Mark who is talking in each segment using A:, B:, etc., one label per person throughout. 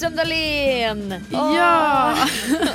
A: Johan Dahlén! Åh,
B: Ja.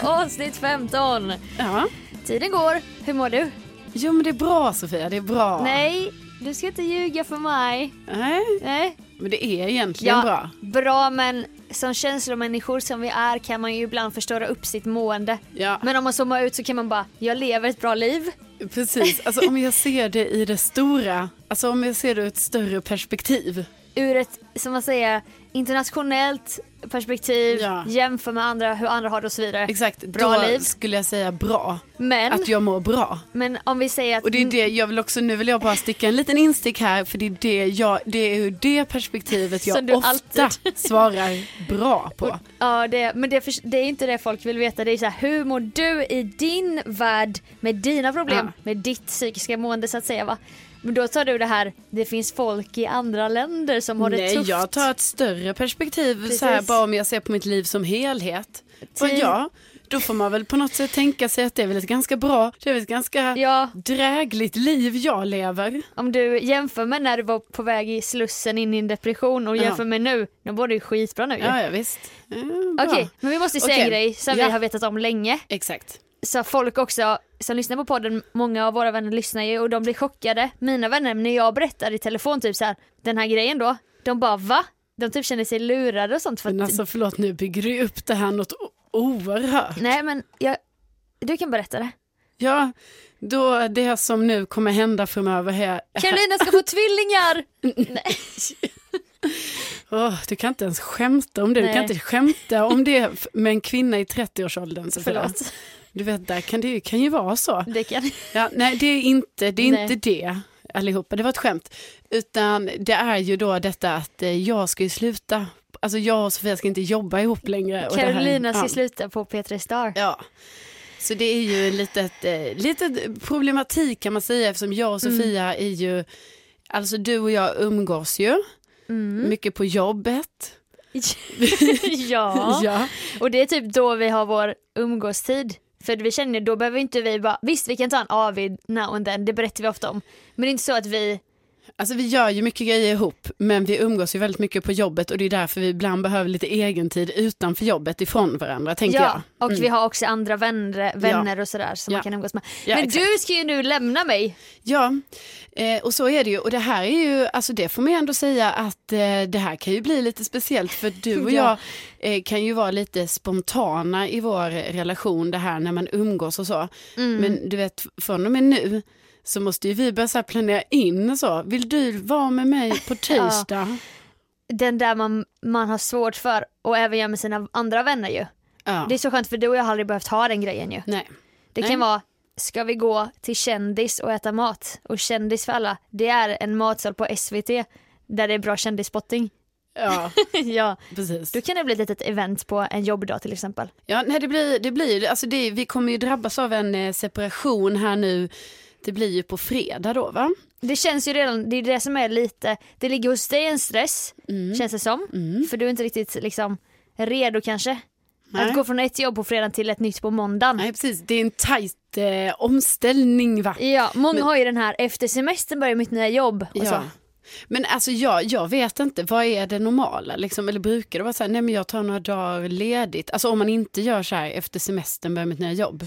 A: Avsnitt 15.
B: Ja.
A: Tiden går. Hur mår du?
B: Jo men det är bra Sofia, det är bra.
A: Nej, du ska inte ljuga för mig.
B: Nej,
A: Nej.
B: men det är egentligen bra.
A: bra men som känslomänniskor som vi är kan man ju ibland förstöra upp sitt mående.
B: Ja,
A: Men om man zoomar ut så kan man bara, jag lever ett bra liv.
B: precis. Alltså om jag ser det i det stora, alltså om jag ser det ur ett större perspektiv.
A: Ur ett, som man säger, internationellt perspektiv,
B: Ja.
A: jämför med andra, hur andra har det och så vidare.
B: Exakt,
A: Bra
B: då
A: liv.
B: skulle jag säga bra.
A: Men, Mm.
B: Att jag mår bra.
A: men om vi säger att
B: Och det är det jag vill också, nu vill jag bara sticka en liten instick här för det är det jag, det är ur det perspektivet
A: Som
B: jag
A: du
B: ofta
A: alltid-
B: svarar bra på.
A: Ja, det, men det, förs- det är inte det folk vill veta. Det är så här, hur mår du i din värld med dina problem,
B: Ja.
A: med ditt psykiska mående så att säga va? Men då tar du det här, det finns folk i andra länder som har det
B: Nej,
A: tufft.
B: jag tar ett större perspektiv, så här,
A: Precis. Typ.
B: bara om jag ser på mitt liv som helhet. Och
A: Tid.
B: ja, då får man väl på något sätt tänka sig att det är väl ett ganska bra, det är väl ett ganska
A: Ja.
B: drägligt liv jag lever.
A: Om du jämför med när du var på väg i Slussen in i en depression och
B: Ja.
A: jämför med nu, då mår du ju skitbra nu ju.
B: Ja, ja visst. Ja, bra.
A: Okej, men vi måste säga
B: Okej.
A: en grej som
B: Ja.
A: vi har vetat om länge.
B: Exakt.
A: Så folk också som lyssnar på podden, många av våra vänner lyssnar ju och de blir chockade. Mina vänner, när jag berättar i telefon typ så här, den här grejen då, de bara va? De typ känner sig lurade och sånt för
B: Men
A: att,
B: alltså förlåt, nu bygger du upp det här något o- oerhört.
A: nej men jag, du kan berätta det.
B: Ja, då det som nu kommer hända framöver här.
A: Carolina ska få tvillingar!
B: Åh, du kan inte ens skämta om det, du kan
A: Nej.
B: inte skämta om det f- med en kvinna i 30-årsåldern. Sofia.
A: Förlåt,
B: Du vet, där kan det ju, kan ju vara så.
A: det kan
B: Ja, nej, det är inte det. Är
A: Nej.
B: inte det allihopa, det var ett skämt. Utan det är ju då detta att eh, jag ska ju sluta. Alltså jag och Sofia ska inte jobba ihop längre. Och det här-
A: Carolina ska
B: ja.
A: sluta på P3 Star.
B: Ja. Så det är ju en litet, eh, litet problematik kan man säga eftersom jag
A: Mm.
B: och Sofia är ju, alltså du och jag umgås ju,
A: Mm.
B: mycket på jobbet.
A: ja.
B: Ja.
A: och det är typ då vi har vår umgåstid. För vi känner ju, då behöver inte vi bara, visst vi kan ta en AV now and then, det berättar vi ofta om. Men det är inte så att vi
B: Alltså vi gör ju mycket grejer ihop men vi umgås ju väldigt mycket på jobbet och det är därför vi ibland behöver lite egentid utanför jobbet ifrån varandra tänker jag. Mm.
A: Ja, och vi har också andra vänner, vänner och sådär som
B: Ja.
A: man kan umgås med.
B: Ja,
A: Men
B: exakt.
A: du ska ju nu lämna mig.
B: Ja, eh, och så är det ju. Och det här är ju, alltså det får man ju ändå säga att eh, det här kan ju bli lite speciellt för du och
A: Ja.
B: jag eh, kan ju vara lite spontana i vår relation det här när man umgås och så.
A: Mm.
B: Men du vet, från och med nu så måste ju vi börja så här planera in och så. Vill du vara med mig på tisdag?
A: Den där man, man har svårt för och även gör med sina andra vänner ju.
B: ja.
A: Det är så skönt för du och jag har aldrig behövt ha den grejen ju.
B: Nej.
A: Det
B: Nej.
A: kan vara, ska vi gå till kändis och äta mat? Och kändis för alla, det är en matsal på SVT där det är bra kändisspotting.
B: Ja,
A: ja,
B: precis.
A: då kan det bli ett litet event på en jobbdag till exempel.
B: Ja, nej, det blir, det blir alltså det, vi kommer ju drabbas av en eh, separation här nu. Det blir ju på fredag då va?
A: Det känns ju redan, det är det som är lite, det ligger hos dig en stress
B: Mm.
A: känns det som. För du är inte riktigt liksom redo kanske.
B: Nej.
A: Att gå från ett jobb på fredag till ett nytt på måndagen.
B: Nej precis, det är en tajt eh, omställning va?
A: Ja, många har ju den här efter semestern börjar mitt nya jobb. Och så.
B: Ja. Alltså. Men alltså jag, jag vet inte, vad är det normala liksom? Eller brukar det vara så här, nej men jag tar några dagar ledigt. Alltså om man inte gör så här efter semestern börjar mitt nya jobb.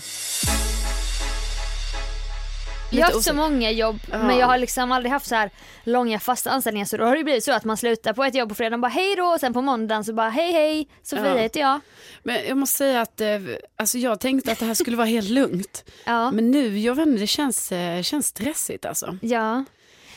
A: Jag har haft så
B: osäker.
A: många jobb men jag har liksom aldrig haft så här långa fasta anställningar så då har det blivit så att man slutar på ett jobb på fredagen bara hej då och sen på måndagen så bara hej hej Sofia
B: Ja.
A: heter jag.
B: Men jag måste säga att eh, alltså jag tänkte att det här skulle vara helt lugnt.
A: Ja.
B: Men nu, jag vet inte, det känns, eh, känns stressigt alltså.
A: ja.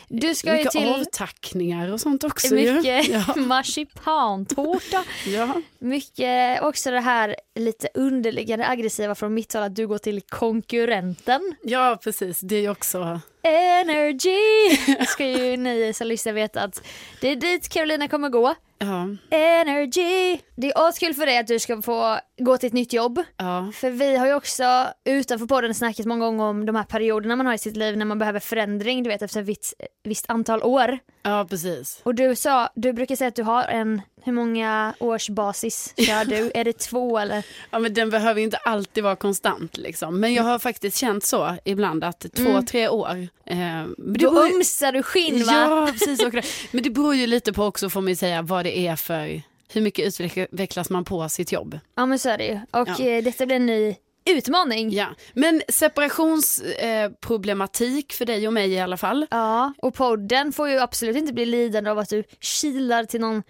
A: Du ska ju
B: Mycket
A: till
B: avtackningar och sånt också
A: mycket
B: ju. Ja.
A: marsipantårta.
B: ja.
A: Mycket också det här lite underliggande aggressiva från mitt håll att du går till konkurrenten.
B: ja, precis, det är ju också
A: Energy! Ska ju ni som lyssnar veta att det är dit Carolina kommer gå.
B: Ja,
A: Energy! Det är askul för dig att du ska få gå till ett nytt jobb.
B: ja,
A: För vi har ju också utanför podden snackat många gånger om de här perioderna man har i sitt liv när man behöver förändring, du vet efter ett visst, visst antal år.
B: ja precis.
A: Och du sa, du brukar säga att du har en, hur många års basis kör du? Är det två eller?
B: Ja, men den behöver ju inte alltid vara konstant. Liksom. Men jag har faktiskt känt så ibland att två,
A: Mm.
B: tre år. Eh, men det
A: Då
B: beror ju-
A: ömsar du skinn va?
B: Ja, precis. och det- Men det beror ju lite på också får man ju säga vad det är för hur mycket utvecklas man på sitt jobb?
A: Ja men så är det ju. Och
B: Ja.
A: eh, detta blir en ny utmaning.
B: Ja. Men separationsproblematik eh, problematik för dig och mig i alla fall.
A: Ja, och podden får ju absolut inte bli lidande av att du kilar till någon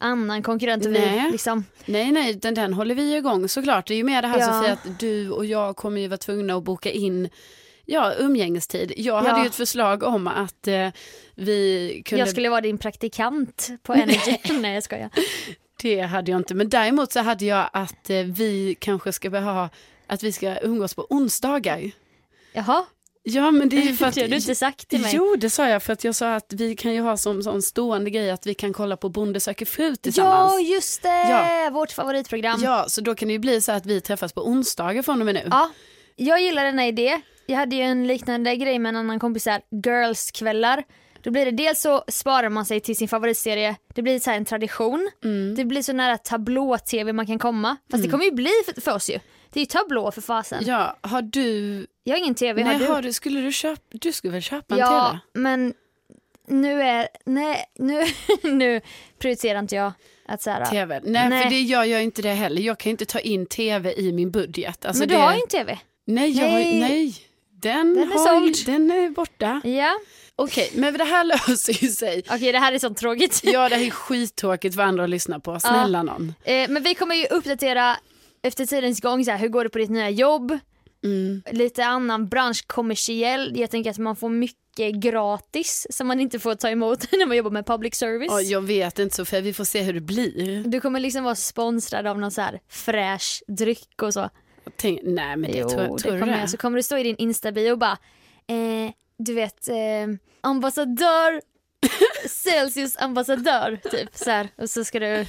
A: annan konkurrent. Och vi,
B: Nej.
A: liksom.
B: Nej, nej, den, den håller vi ju igång såklart. Det är ju med det här
A: Ja.
B: Sofia att du och jag kommer ju vara tvungna att boka in ja, umgängestid. Jag hade ju ett förslag om att eh, vi kunde...
A: Jag skulle vara din praktikant på Energy. Nej jag skojar.
B: Det hade jag inte, men däremot så hade jag att eh, vi kanske ska börja ha att vi ska umgås på onsdagar.
A: Jaha,
B: Ja, men det är ju
A: det
B: för
A: har
B: att...
A: du inte sagt till mig.
B: Jo, det sa jag för att jag sa att vi kan ju ha som sån stående grej att vi kan kolla på Bonde söker fru tillsammans.
A: ja just det,
B: Ja.
A: vårt favoritprogram. Ja.
B: Ja, så då kan det ju bli så att vi träffas på onsdagar från och med nu.
A: Jag gillar denna idé. Jag hade ju en liknande grej med en annan kompis här, girls-kvällar. Då blir det dels så sparar man sig till sin favoritserie, det blir så här en tradition.
B: Mm.
A: Det blir så nära tablå-tv man kan komma. Fast det kommer ju bli för, för oss ju. Det är ju tablå för fasen.
B: Ja, har du...
A: Jag har ingen tv,
B: nej,
A: har du?
B: har du... Skulle du köpa... Du skulle väl köpa en
A: ja,
B: TV?
A: men nu är, nej, nu, nu prioriterar inte jag att så här,
B: TV? Nej,
A: Nej.
B: för det gör jag inte det heller. Jag kan ju inte ta in TV i min budget. Alltså
A: men du
B: det...
A: har ju en tv.
B: Nej, jag har...
A: Nej.
B: nej. Den,
A: Den är
B: har... ju-
A: såld.
B: Den är borta.
A: Ja,
B: Okej, men det här löser ju sig.
A: okej det här är så tråkigt.
B: Ja, det här är skittråkigt för andra att lyssna på. Snälla någon.
A: Eh, men vi kommer ju uppdatera efter tidens gång, så här, hur går det på ditt nya jobb?
B: Mm.
A: Lite annan bransch, kommersiell. Jag tänker att man får mycket gratis som man inte får ta emot när man jobbar med public service.
B: Ja, jag vet inte Sofia, vi får se hur det blir.
A: Du kommer liksom vara sponsrad av någon så här fräsch dryck och så.
B: Jag Tänk, nej, men det
A: jo,
B: tror, tror
A: det
B: du
A: kommer
B: det?
A: jag. Så kommer det stå i din instabio bara, eh, du vet, eh, ambassadör, Celsius ambassadör, typ så här. Och så ska du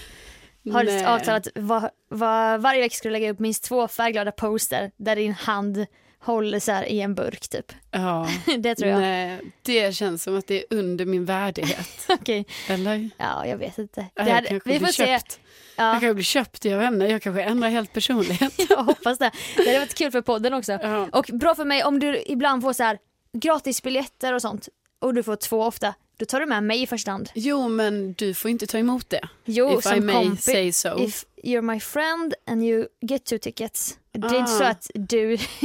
A: Har
B: Nej.
A: du avtalat var, var, varje vecka ska du lägga upp minst två färgglada poster där din hand håller så här i en burk typ.
B: Ja,
A: Det tror jag.
B: nej, det känns som att det är under min värdighet.
A: Okej.
B: Eller?
A: Ja, jag vet inte.
B: Ja,
A: Det
B: jag
A: hade-
B: kanske
A: vi får
B: blir
A: se.
B: köpt. Jag
A: Ja,
B: kanske blir köpt, jag vet inte. Jag kanske ändrar helt personlighet.
A: jag hoppas det. Det hade varit kul för podden också.
B: Ja.
A: Och bra för mig om du ibland får så här gratisbiljetter och sånt och du får två ofta. Då tar du med mig i första hand. Jo,
B: Jo, men du får inte ta emot det.
A: jo
B: If I
A: som
B: may
A: kompis.
B: say so.
A: If you're my friend and you get two tickets. Det är inte
B: Ah.
A: så att du,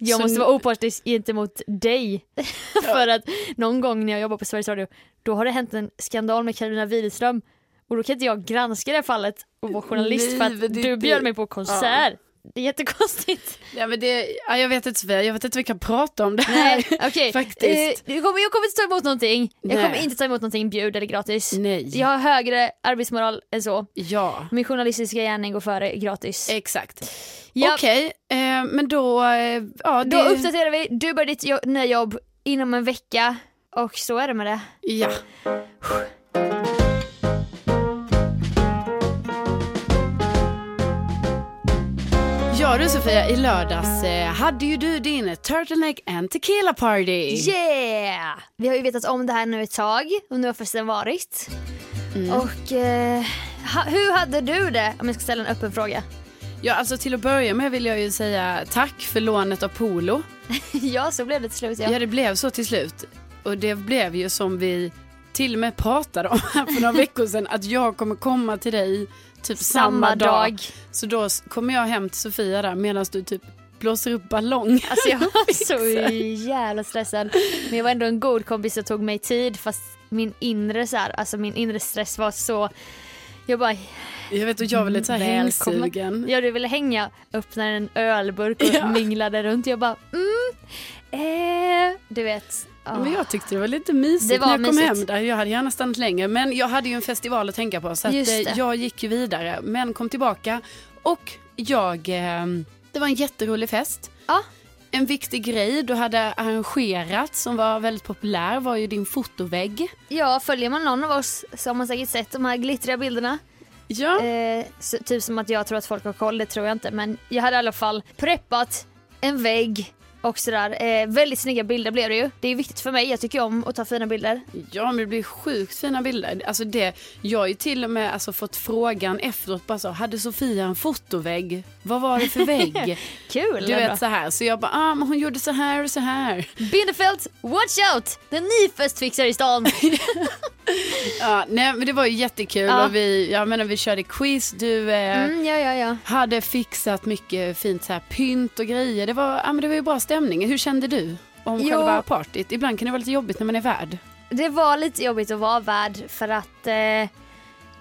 A: jag
B: Så
A: måste
B: n-
A: vara opartisk gentemot dig. För att någon gång när jag jobbar på Sveriges Radio, då har det hänt en skandal med Karolina Widerström. Och då kan inte jag granska det här fallet och vara journalist för
B: Nej, men
A: att
B: det-
A: du bjöd
B: det-
A: mig på konsert. Det är jättekonstigt.
B: Ja, men det, ja, jag vet inte Sofia, jag vet inte vi kan prata om det här.
A: Nej, okej.
B: Faktiskt.
A: Eh, jag, kommer, jag kommer inte ta emot någonting. Jag
B: Nej.
A: kommer inte ta emot någonting bjud eller gratis.
B: Nej.
A: Jag har högre arbetsmoral än så.
B: ja.
A: Min journalistiska gärning går före
B: Eh,
A: gratis.
B: Exakt.
A: Ja,
B: Okej, eh, men då... Eh, ja,
A: Då
B: det,
A: uppdaterar vi, du börjar ditt jo- nya jobb inom en vecka och så är det med det.
B: ja. Ja du Sofia, i lördags eh, hade ju du din Turtleneck and Tequila Party.
A: Yeah! Vi har ju vetat om det här nu ett tag och nu har festen varit.
B: Mm.
A: Och eh, ha, hur hade du det? Om jag ska ställa en öppen fråga.
B: Ja, alltså till att börja med vill jag ju säga tack för lånet av Polo.
A: ja, så blev det till slut. Ja.
B: Ja, det blev så till slut. Och det blev ju som vi till och med pratade om här för några veckor sedan, att jag kommer komma till dig typ samma,
A: Samma
B: dag.
A: dag.
B: Så då s- kommer jag hem till Sofia där medan du typ blåser upp ballong.
A: Alltså jag var så jävla stressad. Men jag var ändå en god kompis och tog mig tid fast min inre så här, alltså min inre stress var så... Jag bara,
B: Jag vet och jag var lite så här
A: Välkommen.
B: hängsugen.
A: Ja du ville hänga, öppnade en ölburk och
B: Ja.
A: minglade runt. Jag bara mm, eh, du vet. Ja.
B: Men jag tyckte det var lite mysigt
A: Det var
B: när jag kom
A: mysigt.
B: hem där. Jag hade gärna stannat längre. Men jag hade ju en festival att tänka på så att
A: Just
B: eh,
A: det.
B: jag gick ju vidare. Men kom tillbaka och jag... Eh, det var en jätterolig fest.
A: Ja.
B: En viktig grej du hade arrangerat som var väldigt populär var ju din fotovägg.
A: ja, följer man någon av oss så har man säkert sett de här glittriga bilderna.
B: Ja.
A: Eh, så, typ som att jag tror att folk har koll, det tror jag inte. Men jag hade i alla fall preppat en vägg och sådär. Eh, väldigt snygga bilder blev det ju. Det är viktigt för mig, jag tycker om att ta fina bilder.
B: Ja men det blir sjukt fina bilder. Alltså det, jag har ju till och med alltså fått frågan efteråt bara så, hade Sofia en fotovägg? Vad var det för vägg?
A: Kul!
B: du
A: ändå.
B: vet så här. Så jag bara, ah, men hon gjorde så här och så här.
A: Bindefeld, watch out! Det är en ny festfixare i stan.
B: Ja, nej, men det var ju jättekul
A: Ja.
B: och vi, jag menar, vi körde quiz, du eh,
A: Mm, ja, ja, ja.
B: hade fixat mycket fint så här, pynt och grejer. Det var, ja, men det var ju bra stämning. Hur kände du om
A: Jo.
B: själva partyt? Ibland kan det vara lite jobbigt när man är värd.
A: Det var lite jobbigt att vara värd för att eh,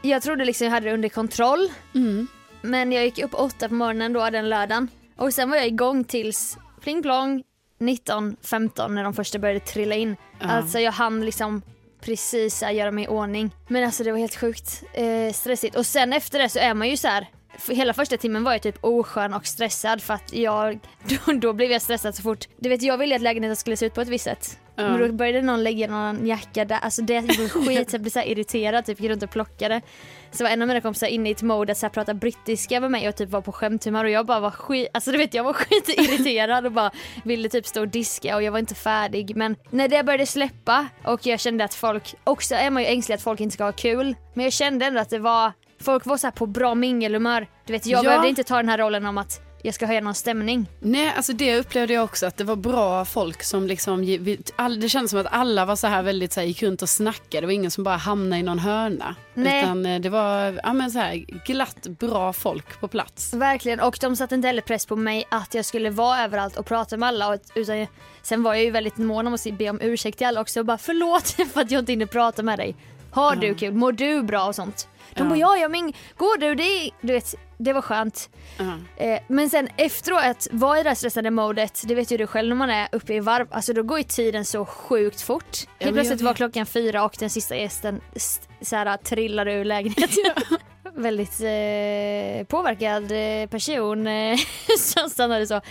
A: jag trodde liksom jag hade det under kontroll.
B: Mm.
A: Men jag gick upp åtta på morgonen då den lördagen och sen var jag igång tills pling plong 19.15 när de första började trilla in.
B: Ja.
A: Alltså jag hann liksom precis här, göra mig i ordning. Men alltså det var helt sjukt eh, stressigt. Och sen efter det så är man ju så här. för Hela första timmen var jag typ oskön och stressad för att jag, då, då blev jag stressad så fort. Du vet jag ville att lägenheten skulle se ut på ett visst sätt.
B: Ja.
A: Men då började någon lägga någon jacka där, alltså det gjorde skit så jag blev så här irriterad typ, gick runt och plockade. Så var en av mina kompisar inne i ett mode att så här prata brittiska med mig och typ var på skämthumör och jag bara var skit, alltså du vet jag var skitirriterad och bara ville typ stå och diska och jag var inte färdig men när det började släppa och jag kände att folk, också är man ju ängslig att folk inte ska ha kul men jag kände ändå att det var, folk var så här på bra mingelhumör. Du vet jag
B: Ja.
A: behövde inte ta den här rollen om att jag ska höja någon stämning.
B: Nej, alltså det upplevde jag också att det var bra folk som liksom, ge- vi- all, det kändes som att alla var så här väldigt så här, gick runt och snackade, det var ingen som bara hamnade i någon hörna.
A: Nej.
B: Utan eh, det var, ja men så här glatt, bra folk på
A: Mm.
B: plats.
A: Verkligen, och de satte inte heller press på mig att jag skulle vara överallt och prata med alla. Och- Utan jag, sen var jag ju väldigt mån om att be om ursäkt till alla också och bara förlåt för att jag inte hinner prata med dig. Har du kul? Mår du bra och sånt? De
B: Ja.
A: bara ja, ja men går du? Det, är-" du vet, det var skönt.
B: Ja.
A: Eh, men sen efteråt, att vara i det här stressade modet, det vet ju du själv när man är uppe i varv, alltså då går ju tiden så sjukt fort.
B: men jag
A: Helt plötsligt var
B: vet.
A: klockan fyra och den sista gästen st- så här, trillade ur lägenheten. Väldigt eh, påverkad eh, person eh, som stannade så.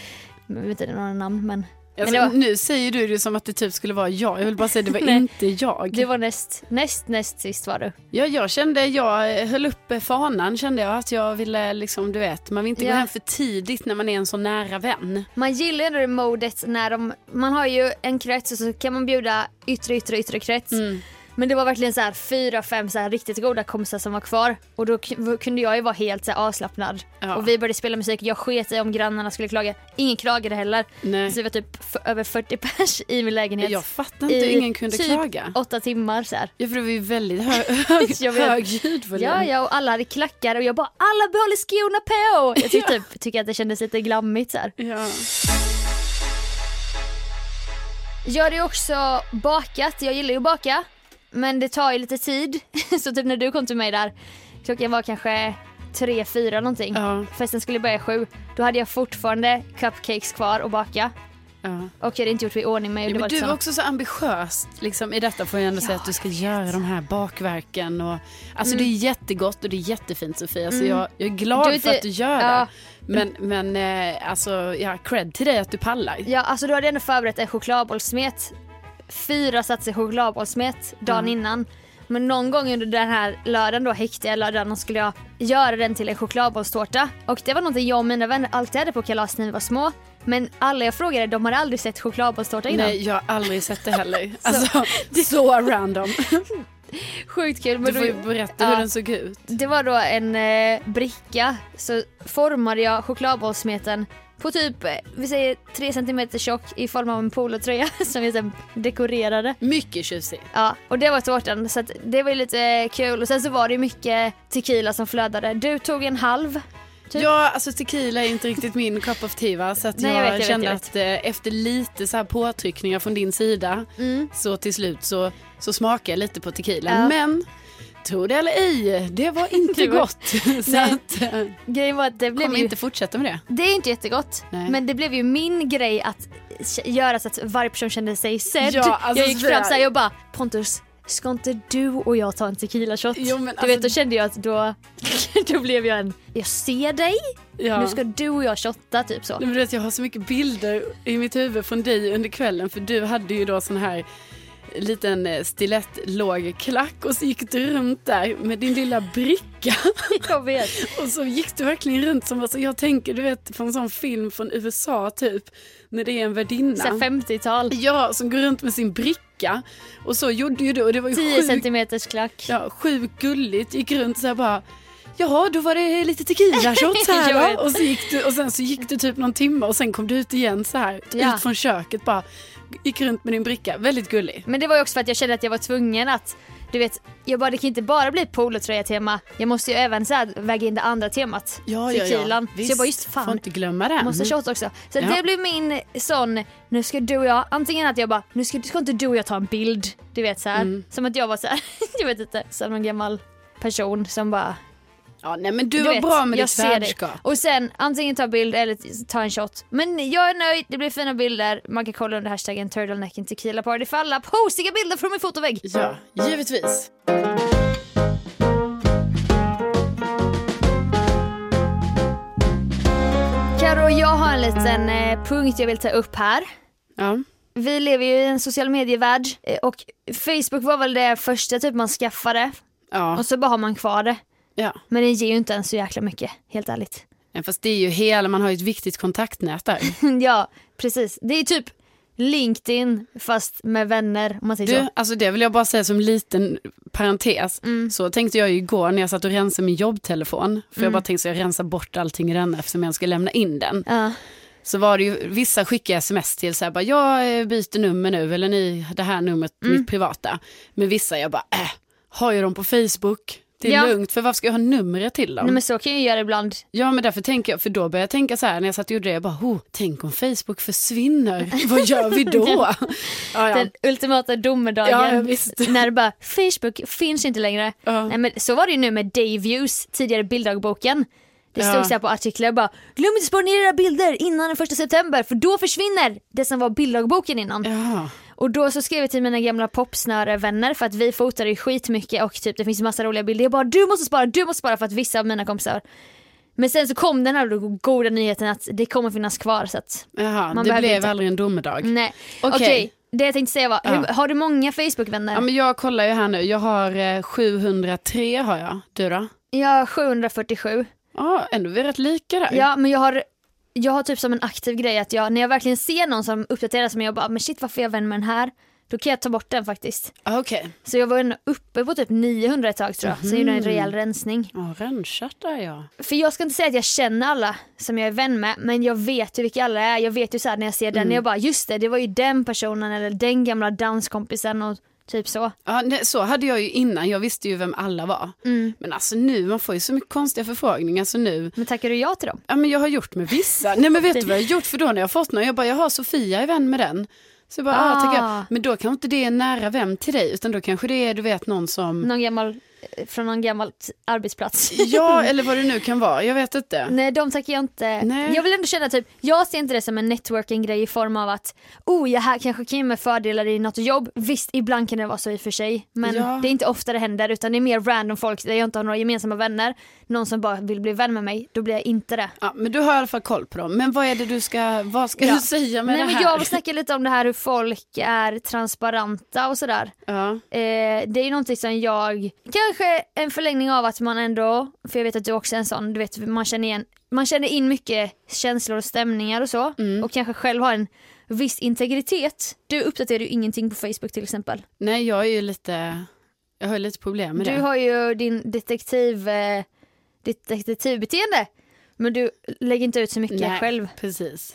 A: Jag vet inte några namn men
B: Alltså,
A: det var-
B: Nu säger du det som att det typ skulle vara jag, jag vill bara säga det var
A: Nej.
B: inte jag.
A: du var näst, näst, näst sist var du.
B: Ja, jag kände, jag eh, höll uppe fanan kände jag att jag ville liksom, du vet, man vill inte
A: Ja.
B: gå hem för tidigt när man är en så nära vän.
A: Man gillar ju det modet när de, man har ju en krets och så kan man bjuda yttre, yttre, yttre krets.
B: Mm.
A: Men det var verkligen så här fyra, fem så här riktigt goda kompisar som var kvar och då k- kunde jag ju vara helt så här avslappnad.
B: Ja.
A: Och vi började spela musik, jag sket i om grannarna skulle klaga. Ingen klagade heller.
B: Nej.
A: Så vi var typ f- över 40 pers i min lägenhet.
B: Jag fattar inte hur
A: I
B: ingen kunde
A: typ
B: klaga.
A: åtta timmar så här.
B: Ja, för det var ju väldigt hö- hög,
A: Jag vet.
B: hög ljudvolym.
A: Ja, ja, och alla hade klackar och jag bara alla behåller skorna på. Jag tyckte, typ, tycker att det kändes lite glammigt så här.
B: Ja.
A: Jag har ju också bakat, jag gillar ju att baka. Men det tar ju lite tid. Så typ när du kom till mig där, klockan var kanske tre, fyra någonting.
B: Ja,
A: Festen skulle börja sju. Då hade jag fortfarande cupcakes kvar att baka.
B: ja.
A: Och jag hade inte gjort mig i ordning med. och
B: Ja,
A: det
B: men
A: var
B: du
A: lite
B: var
A: sån-
B: också så ambitiös liksom, i detta får jag ändå säga att du ska göra de här bakverken. Och, alltså det är jättegott och det är jättefint Sofia, så jag, jag är glad
A: Mm. Du är
B: för
A: inte-
B: att du gör
A: ja.
B: det. Men, men eh, alltså, ja, cred till dig att du pallar.
A: Ja, alltså du hade jag ändå förberett en chokladbollssmet. Fyra satser chokladbollssmet dagen
B: Mm.
A: innan. Men någon gång under den här lördagen då, häktiga lördagen, skulle jag göra den till en chokladbollstårta. Och det var någonting jag och mina vänner alltid hade på kalas när vi var små. Men alla jag frågade, de hade aldrig sett chokladbollstårta innan.
B: Nej, jag har aldrig sett det heller. Alltså, så random.
A: Sjukt kul.
B: Du
A: Men
B: får ju
A: då,
B: berätta hur
A: Ja.
B: den såg ut.
A: det var då en eh, bricka, så formade jag chokladbollssmeten på typ, eh, vi säger 3 cm tjock i form av en polotröja som vi sen dekorerade.
B: Mycket tjusig.
A: Ja, och det var tårtan så att det var ju lite kul och sen så var det ju mycket tequila som flödade. Du tog en halv. Typ.
B: Ja, alltså tequila är inte riktigt min cup of tea va? Så att
A: Nej, jag
B: jag,
A: vet, jag vet,
B: kände
A: jag vet.
B: att eh, efter lite så här påtryckningar från din sida så till slut så, så smakade jag lite på tequila.
A: Ja.
B: Men tro det eller ej, det var inte
A: Det var-
B: gott. så att, eh,
A: Grejen var att det blev
B: kommer
A: ju,
B: inte fortsätta med det.
A: det är inte jättegott
B: Nej.
A: men det blev ju min grej att k- göra så att varje person kände sig sedd.
B: Ja, alltså
A: jag gick
B: sådär.
A: fram såhär och bara Pontus Ska inte du och jag ta en tequila shot?
B: Jo, men
A: du
B: alltså-
A: vet då kände jag att då, då blev jag en, jag ser dig,
B: Ja.
A: nu ska du och jag shotta typ så.
B: Nej, men du vet, jag har så mycket bilder i mitt huvud från dig under kvällen för du hade ju då sån här liten eh, stilett låg klack och så gick du runt där med din lilla bricka
A: Jag vet.
B: och så gick du verkligen runt som alltså, jag tänker du vet på en sån film från USA typ när det är en värdinna.
A: Såhär 50-tal,
B: Ja, som går runt med sin bricka och så gjorde ju du och det var ju
A: 10
B: sjukt
A: centimeters klack.
B: Ja, sjukt gulligt. Gick runt så här bara. Jaha, då var det lite tequila shots
A: Jag
B: här
A: vet.
B: då. Och, så gick du, och sen så gick du typ någon timme och sen kom du ut igen så här.
A: Ja.
B: Ut från köket bara. gick runt med din bricka. Väldigt gullig.
A: Men det var ju också för att jag kände att jag var tvungen att, du vet, jag bara, det kan inte bara bli polotröja-tema. Jag måste ju även så här, väga in det andra temat.
B: Ja,
A: Tequilan. Så jag
B: Visst,
A: bara, just fan.
B: Får inte glömma det.
A: Måste ha shot också. Så
B: Ja.
A: det blev min sån, nu ska du och jag, antingen att jag bara, nu ska, ska inte du och jag ta en bild. Du vet så här. Som att jag var så här, jag vet inte, som någon gammal person som bara,
B: Ja, nej, men du,
A: du
B: var
A: vet,
B: bra med
A: jag
B: ditt
A: ser dig.
B: värdskap.
A: Och sen antingen ta bild eller ta en shot. Men jag är nöjd, det blir fina bilder. Man kan kolla under hashtaggen turtlenecken tequila party för alla posiga bilder från min fotovägg.
B: Ja, givetvis.
A: Karo, jag har en liten eh, punkt jag vill ta upp här.
B: Ja.
A: Vi lever ju i en social medievärld eh, och Facebook var väl det första typ man skaffade
B: Ja.
A: och så bara har man kvar det.
B: ja.
A: Men det ger ju inte ens så jäkla mycket, helt ärligt.
B: Men Fast det är ju hela, man har ju ett viktigt kontaktnät där.
A: ja, precis. Det är typ LinkedIn fast med vänner om man säger
B: Du,
A: så.
B: alltså det vill jag bara säga som liten parentes.
A: Mm.
B: Så tänkte jag ju igår när jag satt och rensade min jobbtelefon. För
A: Mm.
B: jag bara tänkte så jag rensar bort allting i den eftersom jag ska lämna in den.
A: Ja.
B: Så var det ju, vissa skickade sms till så här bara, jag eh, byter nummer nu eller ni, det här numret,
A: Mm.
B: mitt privata. Men vissa jag bara, äh, har ju dem på Facebook. Det är
A: Ja.
B: lugnt, för varför ska jag ha numret till dem?
A: Nej, men så kan jag ju göra ibland.
B: Ja men därför tänker jag, för då började jag tänka så här när jag satt och gjorde det, jag bara, oh, tänk om Facebook försvinner, vad gör vi då? ja, ja.
A: Den ultimata domedagen.
B: Ja, ja, visst.
A: När det bara, Facebook finns inte längre.
B: Ja.
A: Nej, men så var det ju nu med Dayviews, tidigare bilddagboken. Det stod
B: Ja.
A: så här på artiklar bara, glöm inte att spara ner era bilder innan den 1 september för då försvinner det som var bilddagboken innan.
B: ja.
A: Och då så skrev jag till mina gamla popsnörevänner för att vi fotade ju skitmycket och typ det finns massa roliga bilder. Jag bara du måste spara, du måste spara för att vissa av mina kompisar. Men sen så kom den här då goda nyheten att det kommer finnas kvar så att
B: Jaha,
A: Man
B: det
A: behöver
B: blev
A: inte. Mm.
B: aldrig en domedag.
A: nej.
B: Okej.
A: Okej, det jag tänkte säga var,
B: Ja.
A: hur, har du många Facebookvänner?
B: Ja, men jag kollar ju här nu, jag har eh, 703 har jag, du då?
A: Jag har 747.
B: Ja, ändå är vi rätt lika där.
A: Ja men jag har, jag har typ som en aktiv grej att jag, när jag verkligen ser någon som uppdaterar som jag bara, men shit varför är jag vän med den här? Då kan jag ta bort den faktiskt.
B: Ah, Okej,
A: Så jag var ändå uppe på typ 900 ett tag tror jag, sen gjorde jag en
B: Mm.
A: rejäl rensning.
B: ja rensat där ja.
A: För jag ska inte säga att jag känner alla som jag är vän med men jag vet ju vilka alla är. Jag vet ju så här när jag ser den,
B: Mm.
A: jag bara just det, det var ju den personen eller den gamla danskompisen och typ så.
B: Ja, nej, så hade jag ju innan, jag visste ju vem alla var.
A: Mm.
B: Men alltså nu, man får ju så mycket konstiga förfrågningar så nu,
A: Men tackar du ja till dem?
B: ja men jag har gjort med vissa. Nej men vet du vad jag har gjort? För då när jag har fått någon, jag bara, jag har Sofia är vän med den. Så jag bara, ah.
A: Ah.
B: tackar jag. Men då kanske inte det är en nära vän till dig, utan då kanske det är, du vet, någon som,
A: Någon gammal, eh, från någon gammal t- arbetsplats?
B: ja eller vad det nu kan vara, jag vet inte.
A: Nej de tackar jag inte.
B: Nej.
A: Jag vill ändå känna typ, jag ser inte det som en networking-grej i form av att oh jag här kanske kan ge mig fördelar i något jobb. Visst ibland kan det vara så i och för sig men
B: Ja.
A: det är inte ofta det händer utan det är mer random folk där jag inte har några gemensamma vänner. Någon som bara vill bli vän med mig, då blir jag inte det.
B: Ja, men du har i alla fall koll på dem. Men vad är det du ska, vad ska
A: Ja.
B: du säga med
A: Nej,
B: det
A: men
B: här?
A: jag vill snacka lite om det här hur folk är transparenta och sådär.
B: ja.
A: Eh, det är ju någonting som jag, kanske en förlängning av att man ändå, för jag vet att du också är en sån, du vet man känner, igen, man känner in mycket känslor och stämningar och så
B: Mm.
A: och kanske själv har en viss integritet. Du uppdaterar ju ingenting på Facebook till exempel.
B: Nej, jag är ju lite, jag har ju lite problem med
A: Du
B: det.
A: har ju din detektiv, eh, ditt detektivbeteende men du lägger inte ut så mycket
B: Nej,
A: själv.
B: Precis.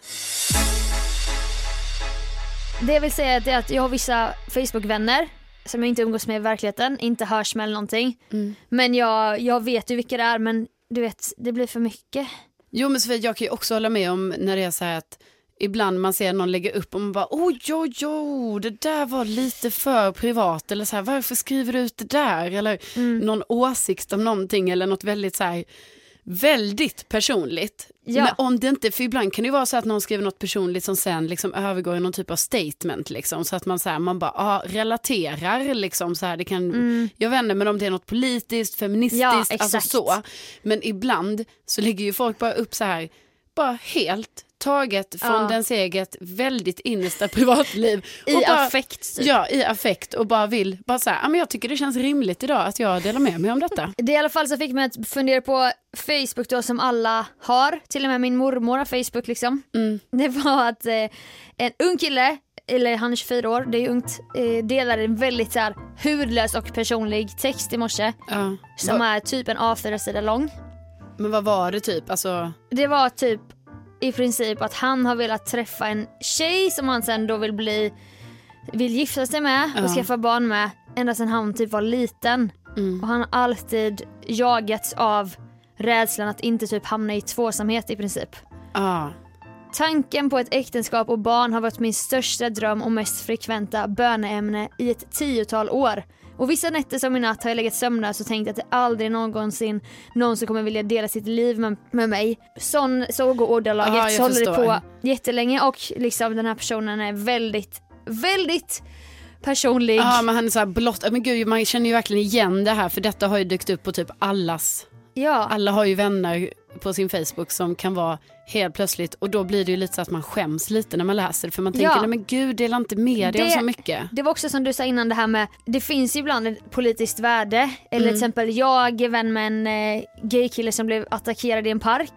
A: Det jag vill säga är att jag har vissa Facebook-vänner som jag inte umgås med i verkligheten, inte hörs med eller någonting.
B: Mm.
A: Men jag, jag vet ju vilka det är men du vet, det blir för mycket.
B: Jo, men Sofia, jag kan ju också hålla med om när det är så här att ibland man ser någon lägga upp och man bara oj, oj, oj, det där var lite för privat eller så här, varför skriver du ut det där? Eller
A: Mm.
B: någon åsikt om någonting eller något väldigt så här väldigt personligt.
A: Ja.
B: Men om det inte, för ibland kan det ju vara så att någon skriver något personligt som sen liksom övergår i någon typ av statement liksom. Så att man så här, man bara, ah, relaterar liksom så här, det kan, jag vänder men om det är något politiskt, feministiskt,
A: Mm. Ja,
B: alltså
A: exakt.
B: så. Men ibland så lägger ju folk bara upp så här, bara helt taget från
A: Ja.
B: dens eget väldigt innersta privatliv.
A: I
B: Och bara,
A: affekt. Typ.
B: Ja, i affekt och bara vill, bara så här, "Ja, men jag tycker det känns rimligt idag att jag delar med mig om detta.
A: Det i alla fall så fick mig att fundera på Facebook då som alla har, till och med min mormor har Facebook liksom.
B: Mm.
A: Det var att eh, en ung kille, eller han är 24 år, det är ju ungt, eh, delade en väldigt så här, hudlös och personlig text i morse
B: Ja.
A: som är typ en A4-sida lång.
B: Men vad var det typ? Alltså,
A: Det var typ i princip att han har velat träffa en tjej som han sen då vill bli vill gifta sig med och
B: Ja.
A: skaffa barn med ända sedan han typ var liten. Och han har alltid jagats av rädslan att inte typ hamna i tvåsamhet i princip.
B: Ja.
A: Tanken på ett äktenskap och barn har varit min största dröm och mest frekventa böneämne i ett tiotal år. Och vissa nätter som i natt har jag legat sömnlös och tänkt att det aldrig någonsin någon som kommer vilja dela sitt liv med, med mig. Sån, så går ordalaget.
B: Ja, jag
A: så håller det
B: förstår.
A: på jättelänge och liksom den här personen är väldigt, väldigt personlig.
B: Ja, men han är så här blott. Men gud, man känner ju verkligen igen det här för detta har ju dykt upp på typ allas.
A: ja.
B: Alla har ju vänner på sin Facebook som kan vara helt plötsligt och då blir det ju lite så att man skäms lite när man läser det för man tänker
A: Ja.
B: nej men gud dela inte med dig av
A: Det-
B: så mycket.
A: Det var också som du sa innan det här med, det finns ju ibland ett politiskt värde.
B: Mm.
A: Eller till exempel jag är vän med en eh, gaykille som blev attackerad i en park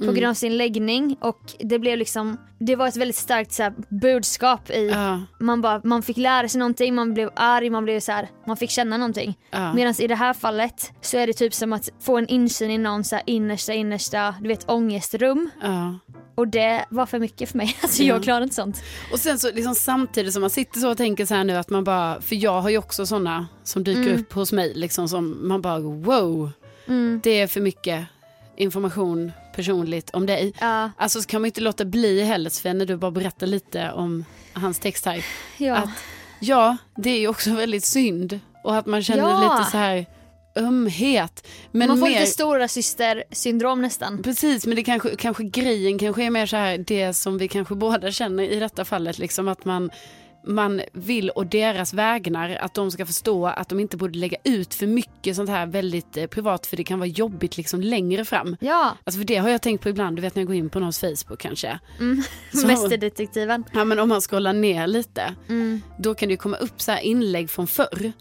B: Mm.
A: på grund av sin läggning och det blev liksom, det var ett väldigt starkt så här, budskap i,
B: Ja,
A: man, bara, man fick lära sig någonting, man blev arg, man blev så här, man fick känna någonting.
B: ja.
A: Medan i det här fallet så är det typ som att få en insyn i någons så här innersta, innersta, du vet ångestrum.
B: ja.
A: Och det var för mycket för mig, alltså jag
B: Ja.
A: klarar inte sånt.
B: Och sen så liksom samtidigt som man sitter så och tänker så här nu att man bara, för jag har ju också sådana som dyker
A: Mm.
B: upp hos mig liksom som man bara wow, det är för mycket information personligt om dig.
A: Ja,
B: Alltså så kan man ju inte låta bli heller Sofia när du bara berättar lite om hans texttype.
A: ja.
B: Att, ja, det är ju också väldigt synd och att man känner
A: Ja.
B: lite så här ömhet. Men
A: man får
B: mer,
A: lite stora syster syndrom nästan.
B: Precis, men det kanske, kanske grejen kanske är mer så här det som vi kanske båda känner i detta fallet, liksom att man man vill och deras vägnar att de ska förstå att de inte borde lägga ut för mycket sånt här väldigt eh, privat för det kan vara jobbigt liksom längre fram.
A: Ja,
B: Alltså för det har jag tänkt på ibland, du vet när jag går in på någons Facebook kanske. Så-
A: Mm. Mästerdetektiven.
B: Ja men om man scrollar ner lite,
A: Mm.
B: då kan det ju komma upp så här inlägg från förr.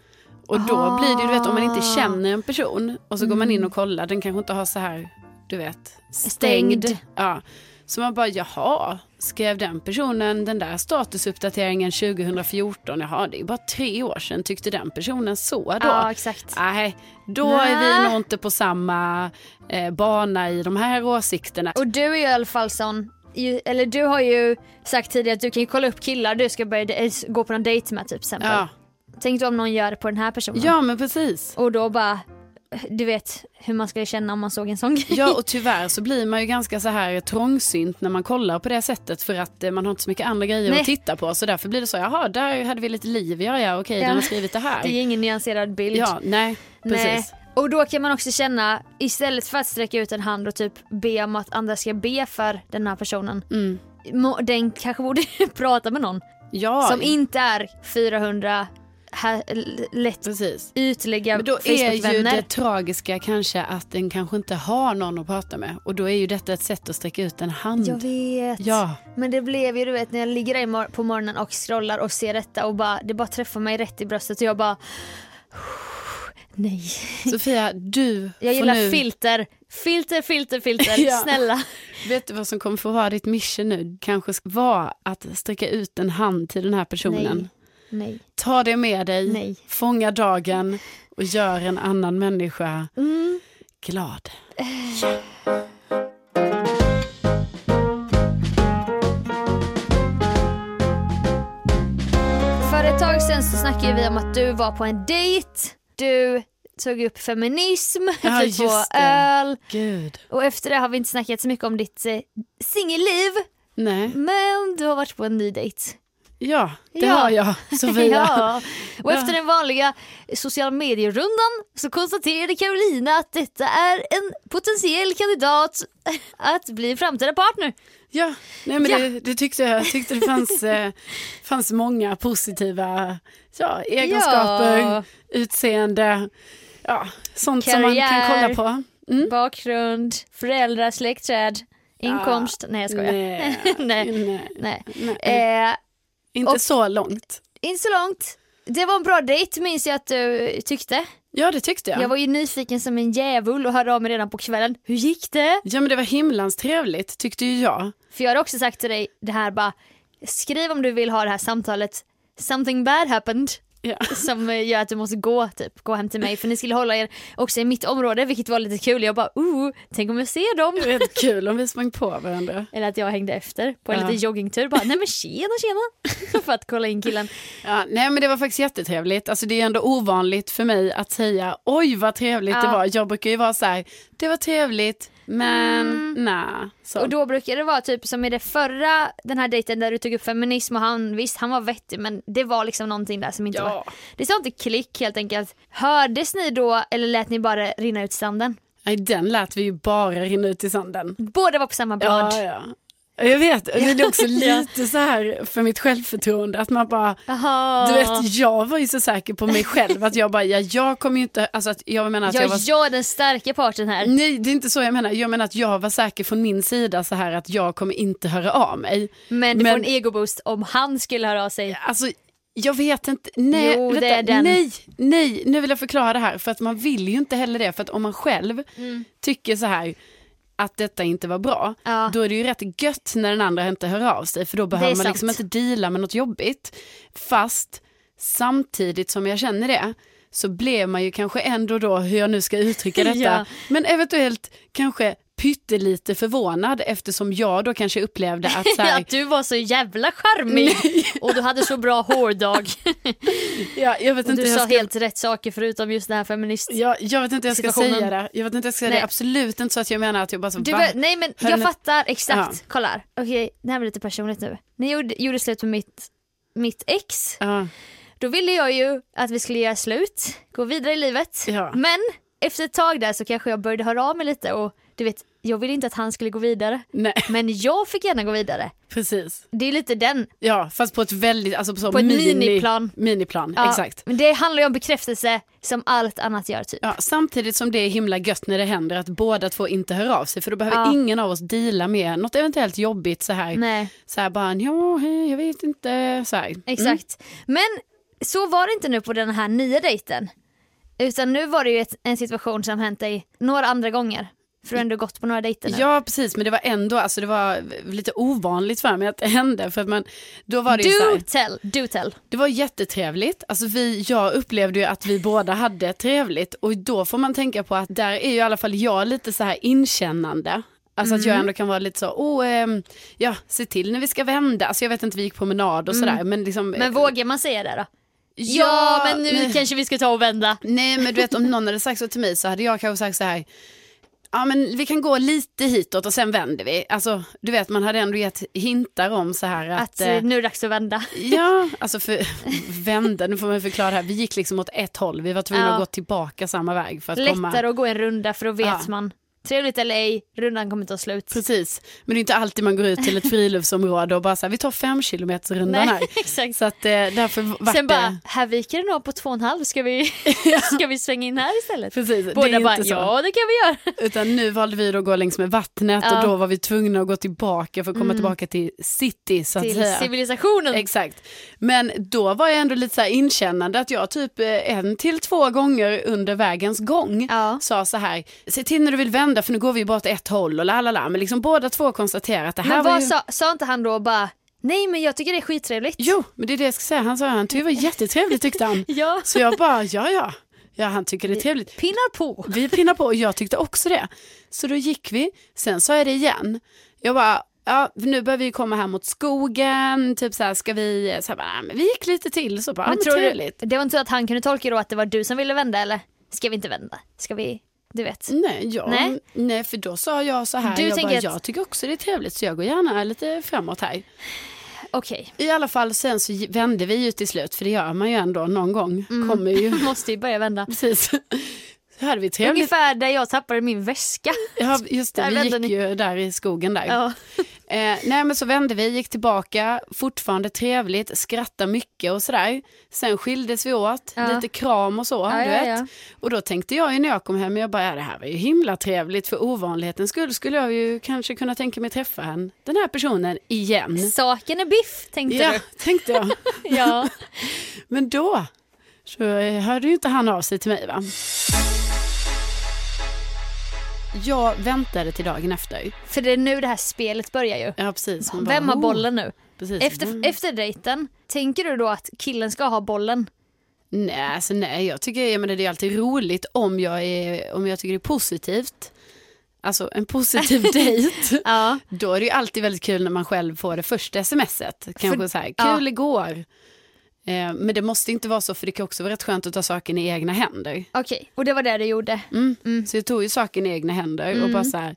B: Och då
A: Ah.
B: blir det ju, du vet om man inte känner en person och så går man in
A: Mm.
B: och kollar, den kanske inte har så här, du vet, stängd.
A: Stängd.
B: Ja. Så man bara, jaha, skrev den personen den där statusuppdateringen 2014, jaha det är bara tre år sedan, tyckte den personen så då?
A: Ja, exakt.
B: Nej, då är
A: Nej.
B: vi nog inte på samma eh, bana i de här åsikterna.
A: Och du är ju i alla fall sån, ju- eller du har ju sagt tidigare att du kan ju kolla upp killar du ska börja de- gå på någon dejt med typ till exempel.
B: Ja,
A: Tänk då om någon gör det på den här personen.
B: ja men precis.
A: Och då bara, du vet hur man skulle känna om man såg en sån grej.
B: Ja och tyvärr så blir man ju ganska så här trångsynt när man kollar på det sättet för att eh, man har inte så mycket andra grejer
A: Nej.
B: att titta på så därför blir det så, jaha där hade vi lite liv, ja ja okej
A: Ja.
B: den har skrivit det här.
A: Det är ingen nyanserad bild.
B: Ja, nej precis.
A: Nej. Och då kan man också känna, istället för att sträcka ut en hand och typ be om att andra ska be för den här personen.
B: Mm.
A: må- Den kanske borde prata med någon.
B: Ja,
A: Som inte är 400 här, l- lätt
B: precis.
A: ytliga
B: Men då är ju det
A: Facebookvänner.
B: tragiska kanske att den kanske inte har någon att prata med och då är ju detta ett sätt att sträcka ut en hand.
A: Jag vet.
B: Ja,
A: Men det blev ju du vet när jag ligger där i mor- på morgonen och scrollar och ser detta och bara, det bara träffar mig rätt i bröstet och jag bara Nej.
B: Sofia du
A: Jag
B: får
A: gillar
B: nu,
A: filter. Filter, filter, filter.
B: Ja.
A: Snälla.
B: vet du vad som kommer få vara ditt mission nu? Kanske ska vara att sträcka ut en hand till den här personen.
A: Nej. Nej.
B: Ta det med dig,
A: Nej.
B: fånga dagen och gör en annan människa
A: Mm.
B: glad.
A: För ett tag sedan så snackade vi om att du var på en dejt. Du tog upp feminism,
B: Ja,
A: du två
B: just det.
A: öl
B: Gud.
A: och efter det har vi inte snackat så mycket om ditt eh, singelliv.
B: Nej,
A: Men du har varit på en ny dejt.
B: ja, det
A: Ja.
B: har jag, Sofia.
A: Ja. Och
B: Ja.
A: efter den vanliga sociala medierundan så konstaterade Carolina att detta är en potentiell kandidat att bli framtida partner.
B: Ja, nej men
A: Ja.
B: Det, det tyckte jag. Jag tyckte det fanns, eh, fanns många positiva ja, egenskaper, Mm.
A: Ja.
B: utseende, ja, sånt som man kan
A: Karriär.
B: kolla på. Mm.
A: Bakgrund, föräldrar, släktträd, inkomst. Nej jag skojar.
B: Nej,
A: Nej.
B: nej,
A: Nej.
B: nej.
A: Eh,
B: inte
A: och-
B: så långt.
A: inte så långt. Det var en bra dejt minns jag att du tyckte.
B: Ja, det tyckte jag.
A: Jag var ju nyfiken som en djävul och hörde av mig redan på kvällen. Hur gick det?
B: Ja, men det var himlans trevligt, tyckte ju jag.
A: För jag har också sagt till dig det här bara skriv om du vill ha det här samtalet. Something bad happened.
B: Ja.
A: som eh, gör att du måste gå typ, gå hem till mig för ni skulle hålla er också i mitt område vilket var lite kul. Jag bara oh, tänk om jag ser dem.
B: Det är rätt kul om vi sprang på varandra.
A: Eller att jag hängde efter på en
B: Ja.
A: liten joggingtur bara nej men tjena tjena för att kolla in killen.
B: Ja, nej men det var faktiskt jättetrevligt. Alltså det är ändå ovanligt för mig att säga oj vad trevligt
A: Ja.
B: det var. Jag brukar ju vara så här, det var trevligt men nä. Så.
A: Mm. Och då brukar det vara typ som i det förra, den här dejten där du tog upp feminism och han, visst han var vettig men det var liksom någonting där som inte
B: Ja.
A: var. Det sa inte klick helt enkelt. Hördes ni då eller lät ni bara rinna ut i sanden?
B: Nej den lät vi ju bara rinna ut i sanden.
A: Båda var på samma blad.
B: Ja, ja. Jag vet, det är också
A: Ja.
B: lite så här för mitt självförtroende att man bara
A: Jaha.
B: Du vet, jag var ju så säker på mig själv att jag bara, ja, jag kommer ju inte, alltså att jag menar att
A: Ja,
B: jag
A: jag,
B: var Mm,
A: är den starka parten här.
B: Nej, det är inte så jag menar. Jag menar att jag var säker från min sida så här att jag kommer inte höra av mig.
A: Men du
B: Men-
A: får en egoboost om han skulle höra av sig.
B: Alltså, jag vet inte. Nej,
A: Jo,
B: vänta,
A: det är den.
B: nej, nej, nu vill jag förklara det här. För att man vill ju inte heller det. För att om man själv
A: Mm.
B: tycker så här att detta inte var bra,
A: Ja.
B: då är det ju rätt gött när den andra inte hör av sig. För då behöver man
A: sant.
B: liksom inte deala med något jobbigt. Fast samtidigt som jag känner det, så blev man ju kanske ändå då, hur jag nu ska uttrycka detta,
A: Ja.
B: men eventuellt kanske pyttelite förvånad eftersom jag då kanske upplevde att så här,
A: Att du var så jävla charmig och du hade så bra hårdag.
B: ja, jag vet
A: Och
B: inte
A: du
B: hur jag
A: sa
B: ska
A: helt rätt saker förutom just det här feminist.
B: Jag, jag vet inte hur jag ska
A: Situationen.
B: säga det. Jag vet inte hur jag ska säga
A: Nej.
B: det. Absolut inte så att jag menar att jag bara så,
A: Du,
B: va?
A: bör- nej men
B: Hör
A: jag
B: ni-
A: fattar exakt, kolla här. Okej det här blir lite personligt nu. Ni gjorde, gjorde slut med mitt, mitt ex.
B: Ja,
A: Då ville jag ju att vi skulle göra slut, gå vidare i livet.
B: Ja.
A: Men efter ett tag där så kanske jag började höra av mig lite och du vet, jag ville inte att han skulle gå vidare.
B: nej,
A: Men jag fick gärna gå vidare.
B: precis.
A: Det är lite den.
B: Ja, fast på ett väldigt, alltså på, så
A: På ett
B: mini,
A: miniplan.
B: Miniplan,
A: Ja,
B: exakt.
A: Men det handlar ju om bekräftelse som allt annat gör typ.
B: Ja, samtidigt som det är himla gött när det händer att båda två inte hör av sig för då behöver
A: Ja.
B: ingen av oss deala med något eventuellt jobbigt så här.
A: Nej,
B: Så här bara, ja, hej, jag vet inte, så här. Mm.
A: exakt. Men så var det inte nu på den här nya dejten. Utan nu var det ju ett, en situation som hänt dig några andra gånger. För du har ändå gått på några dejter nu.
B: Ja precis men det var ändå, alltså det var lite ovanligt för mig att det hände för att man, då var det ju så här,
A: do tell, do tell.
B: Det var jättetrevligt. Alltså vi, jag upplevde ju att vi båda hade trevligt och då får man tänka på att där är ju i alla fall jag lite så här inkännande. Alltså att
A: Mm.
B: jag ändå kan vara lite så, oh, ehm, ja, se till när vi ska vända. Alltså jag vet inte, vi gick promenad och sådär. Men, liksom,
A: Mm. Men vågar man säga det då? Ja, men nu
B: nej.
A: kanske vi ska ta och vända.
B: Nej men du vet om någon hade sagt så till mig så hade jag kanske sagt så här. Ja men vi kan gå lite hitåt och sen vänder vi. Alltså du vet man hade ändå gett hintar om så här att,
A: Att
B: eh,
A: eh, nu är det dags att vända.
B: Ja, alltså för, vända, nu får man förklara här. Vi gick liksom åt ett håll, vi var tvungna
A: Ja.
B: att gå tillbaka samma väg för att komma.
A: Lättare att gå en runda för då vet
B: Ja.
A: man. Trevligt eller ej, rundan kommer ta slut.
B: Precis, men det är inte alltid man går ut till ett friluftsområde och bara så här, vi tar fem kilometer rundan här.
A: Nej, exakt.
B: Så att eh, därför vart
A: Sen
B: det...
A: bara, här viker den av på två och en halv, ska vi, ska vi svänga in här istället?
B: Precis, det
A: Båda
B: är
A: bara,
B: inte så.
A: ja det kan vi göra.
B: Utan nu valde vi då att gå längs med vattnet
A: Ja. Mm.
B: och då var vi tvungna att gå tillbaka för att komma tillbaka till city så att
A: Till
B: säga.
A: civilisationen.
B: Exakt. Men då var jag ändå lite så här inkännande att jag typ eh, en till två gånger under vägens gång
A: Ja.
B: sa så här, se till när du vill vända för nu går vi bara åt ett håll och la la la. Men liksom båda två konstaterar att det här
A: Men
B: var
A: vad
B: ju...
A: sa, sa inte han då bara, nej men jag tycker det är skittrevligt.
B: Jo, men det är det jag ska säga. Han sa han tyckte det var jättetrevligt tyckte han.
A: Ja.
B: Så jag bara, ja ja, ja han tycker det är trevligt.
A: Pinnar på.
B: Vi pinnar på och jag tyckte också det. Så då gick vi, sen sa jag det igen. Jag bara, ja nu börjar vi komma här mot skogen, typ så här ska vi, så här bara, "Nej, men vi gick lite till så bara, men, ja, men
A: tror
B: trevligt.
A: du, det var inte så att han kunde tolka då att det var du som ville vända eller? Ska vi inte vända? Ska vi, du vet.
B: Nej, jag,
A: Nej.
B: nej. för då sa jag så här,
A: Du
B: jag, bara,
A: tänker att-
B: jag tycker också det är trevligt så jag går gärna lite framåt här.
A: Okej,
B: I alla fall sen så vände vi ju till slut, för det gör man ju ändå någon gång,
A: Mm.
B: kommer ju,
A: måste ju börja vända.
B: precis. Så hade vi trevligt.
A: Ungefär där jag tappade min väska.
B: Ja, just det,
A: Där
B: vi
A: vände
B: gick
A: ni.
B: ju där i skogen där.
A: Ja.
B: Eh, nej men så vände vi, gick tillbaka, fortfarande trevligt, skrattade mycket och sådär. Sen skildes vi åt,
A: Ja.
B: lite kram och så.
A: Ja,
B: du
A: ja,
B: vet.
A: ja.
B: Och då tänkte jag ju när jag kom hem, jag bara, ja, det här var ju himla trevligt för ovanlighetens skull skulle jag ju kanske kunna tänka mig träffa han, den här personen igen.
A: Saken är biff, tänkte
B: Ja,
A: du.
B: tänkte jag.
A: Ja.
B: Men då så eh, hörde ju inte han av sig till mig va. Jag väntade till dagen efter.
A: För det är nu det här spelet börjar ju.
B: Ja, precis. Man bara,
A: Vem har
B: oh.
A: bollen nu?
B: Precis. Mm.
A: Efter, efter dejten, tänker du då att killen ska ha bollen?
B: Nej, alltså nej, jag tycker jag menar, det är alltid roligt om jag, är, om jag tycker det är positivt. Alltså en positiv dejt.
A: Ja.
B: Då är det ju alltid väldigt kul när man själv får det första smset. Kanske så här, kul
A: ja.
B: igår. Eh, men det måste inte vara så, för det kan också vara rätt skönt att ta saken i egna händer.
A: Okej, och det var det du gjorde.
B: Mm. Så jag tog ju saken i egna händer och bara så här,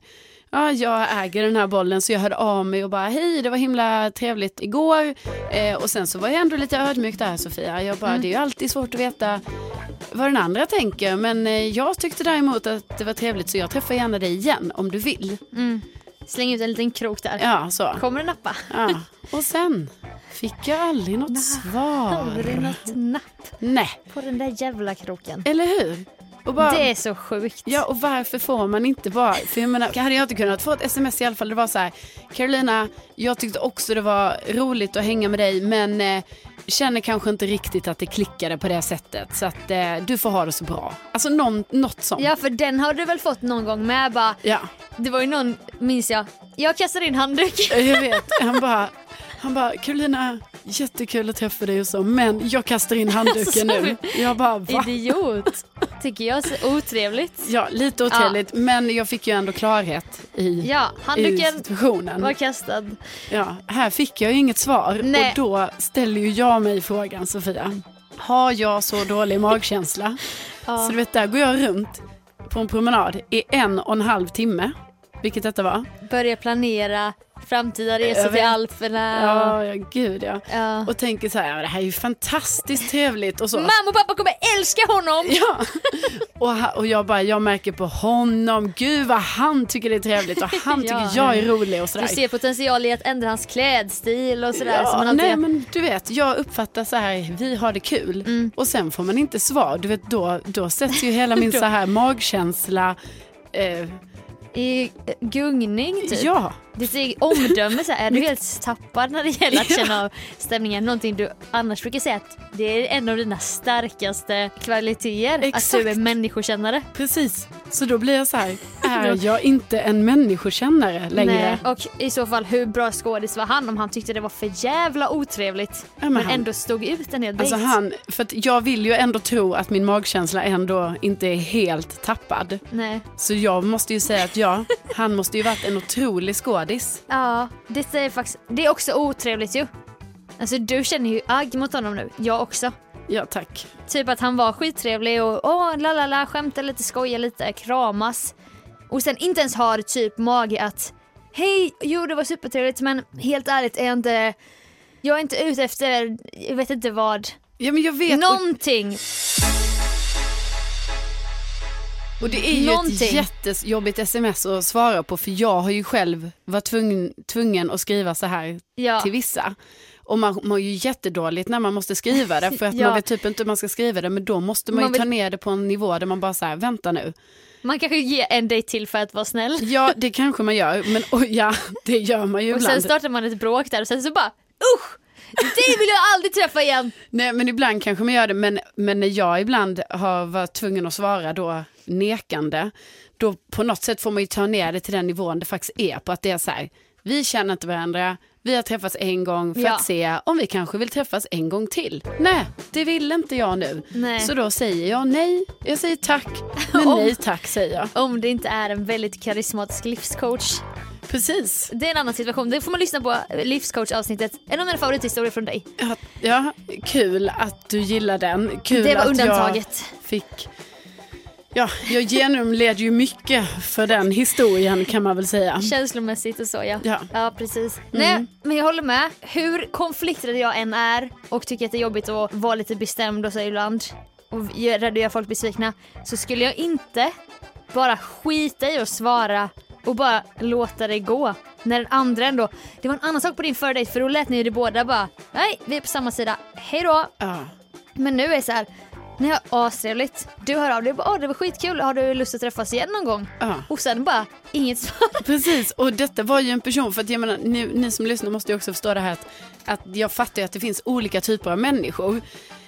B: ja jag äger den här bollen så jag hörde av mig och bara hej det var himla trevligt igår. Eh, och sen så var jag ändå lite ödmjuk där Sofia, jag bara det är ju alltid svårt att veta vad den andra tänker men eh, jag tyckte däremot att det var trevligt så jag träffar gärna dig igen om du vill.
A: Släng ut en liten krok där.
B: Ja så.
A: Kommer du nappa?
B: Ja. Och sen fick jag aldrig något svar.
A: Aldrig något napp
B: Nej,
A: på den där jävla kroken.
B: eller hur? Och bara,
A: Det är så sjukt.
B: Ja, och varför får man inte bara... För jag menar, hade jag inte kunnat få ett sms i alla fall, det var så här, Carolina, jag tyckte också det var roligt att hänga med dig, men eh, känner kanske inte riktigt att det klickade på det sättet, så att eh, du får ha det så bra. Alltså någon, något sånt.
A: Ja, för den har du väl fått någon gång med bara.
B: ja.
A: Det var ju någon, minns jag. Jag kastade in handduk.
B: Jag vet, han bara, han bara, Carolina, jättekul att träffa dig och så, men jag kastar in handduken nu. Jag bara, va?
A: Idiot. Tycker jag är så otrevligt.
B: Ja, lite otrevligt, men jag fick ju ändå klarhet i,
A: Ja,
B: i
A: handduken
B: situationen.
A: var kastad.
B: Ja, här fick jag ju inget svar
A: Nej.
B: och då ställer ju jag mig frågan Sofia. Har jag så dålig magkänsla? Så du vet, där går jag runt på en promenad i en och en halv timme. Vilket detta var.
A: Börja planera framtida
B: Jag
A: resor
B: vet.
A: till Alperna. och-
B: Ja, ja gud ja.
A: Ja.
B: Och tänker så här, ja, men det här är ju fantastiskt trevligt och så.
A: Mamma och pappa kommer älska honom!
B: Ja. Och, ha- och jag bara, jag märker på honom, gud vad han tycker det är trevligt och han tycker
A: Ja.
B: jag är rolig och sådär.
A: Du ser potential i att ändra hans klädstil och sådär. som man
B: Ja,
A: alltid
B: nej
A: gör.
B: men du vet, jag uppfattar så här, vi har det kul.
A: Mm.
B: Och sen får man inte svar, du vet då, då sätts ju hela min så här magkänsla, eh,
A: I eh, gungning typ.
B: ja.
A: Ditt eget omdöme så här, är du helt tappad när det gäller att
B: Ja.
A: känna av stämningen? Någonting du annars brukar säga att det är en av dina starkaste kvaliteter. Att du är
B: Exakt.
A: människokännare.
B: Precis, så då blir jag så här, är jag inte en människokännare längre?
A: Nej. Och i så fall hur bra skådis var han om han tyckte det var för jävla otrevligt
B: Ja, men
A: men
B: han-
A: ändå stod ut en hel
B: Alltså
A: dejt.
B: han, för att jag vill ju ändå tro att min magkänsla ändå inte är helt tappad.
A: Nej.
B: Så jag måste ju säga att ja, han måste ju varit en otrolig skådis.
A: Ja, det är faktiskt, det är också otrevligt ju. Alltså du känner ju agg mot honom nu, jag också.
B: Ja tack.
A: Typ att han var skittrevlig och åh, la la la, skämta lite, skoja lite, kramas. Och sen inte ens har typ mage att hej, jo det var supertrevligt men helt ärligt är jag inte, jag är inte ute efter, jag vet inte vad,
B: Ja men jag vet, och-
A: någonting.
B: Och det är ju ett
A: Någonting.
B: jättejobbigt sms att svara på för jag har ju själv varit tvungen, tvungen att skriva så här
A: Ja.
B: till vissa. Och man mår ju jättedåligt när man måste skriva det för att
A: Ja.
B: man vet typ inte hur man ska skriva det men då måste man,
A: Man
B: ju
A: vill-
B: ta ner det på en nivå där man bara så här, vänta nu.
A: Man kanske ger en dejt till för att vara snäll.
B: Ja det kanske man gör men och ja det gör man ju
A: Och
B: ibland.
A: sen startar man ett bråk där och sen så bara usch! Dig vill jag aldrig träffa igen!
B: Nej men ibland kanske man gör det men, men när jag ibland har varit tvungen att svara då nekande då på något sätt får man ju ta ner det till den nivån det faktiskt är på att det är så här vi känner inte varandra vi har träffats en gång för
A: Ja.
B: att se om vi kanske vill träffas en gång till. Nej, det vill inte jag nu.
A: Nej.
B: Så då säger jag nej. Jag säger tack, men
A: Om-
B: nej tack säger jag.
A: Om det inte är en väldigt karismatisk livscoach.
B: Precis.
A: Det är en annan situation, det får man lyssna på eh, livscoach-avsnittet. En av mina favorithistorier från dig.
B: Ja, ja, kul att du gillar den. Kul
A: Det var
B: att Jag...
A: undantaget.
B: fick... Ja, jag genomled ju mycket för den historien kan man väl säga.
A: Känslomässigt och så ja.
B: Ja.
A: precis. Nej men jag håller med. Hur konflikträdd jag än är och tycker att det är jobbigt att vara lite bestämd och så ibland och gör- rädd att göra folk besvikna så skulle jag inte bara skita i att svara och bara låta det gå. När den andra ändå, det var en annan sak på din förra dejt för då lät ni det båda bara nej vi är på samma sida, hej då.
B: Ja.
A: Men nu är det så här, ni har astrevligt, du hör av dig och bara åh det var skitkul, har du lust att träffas igen någon gång?
B: Ja.
A: Och sen bara inget svar.
B: Precis, och detta var ju en person, för att jag menar, ni, ni som lyssnar måste ju också förstå det här att, att jag fattar ju att det finns olika typer av människor.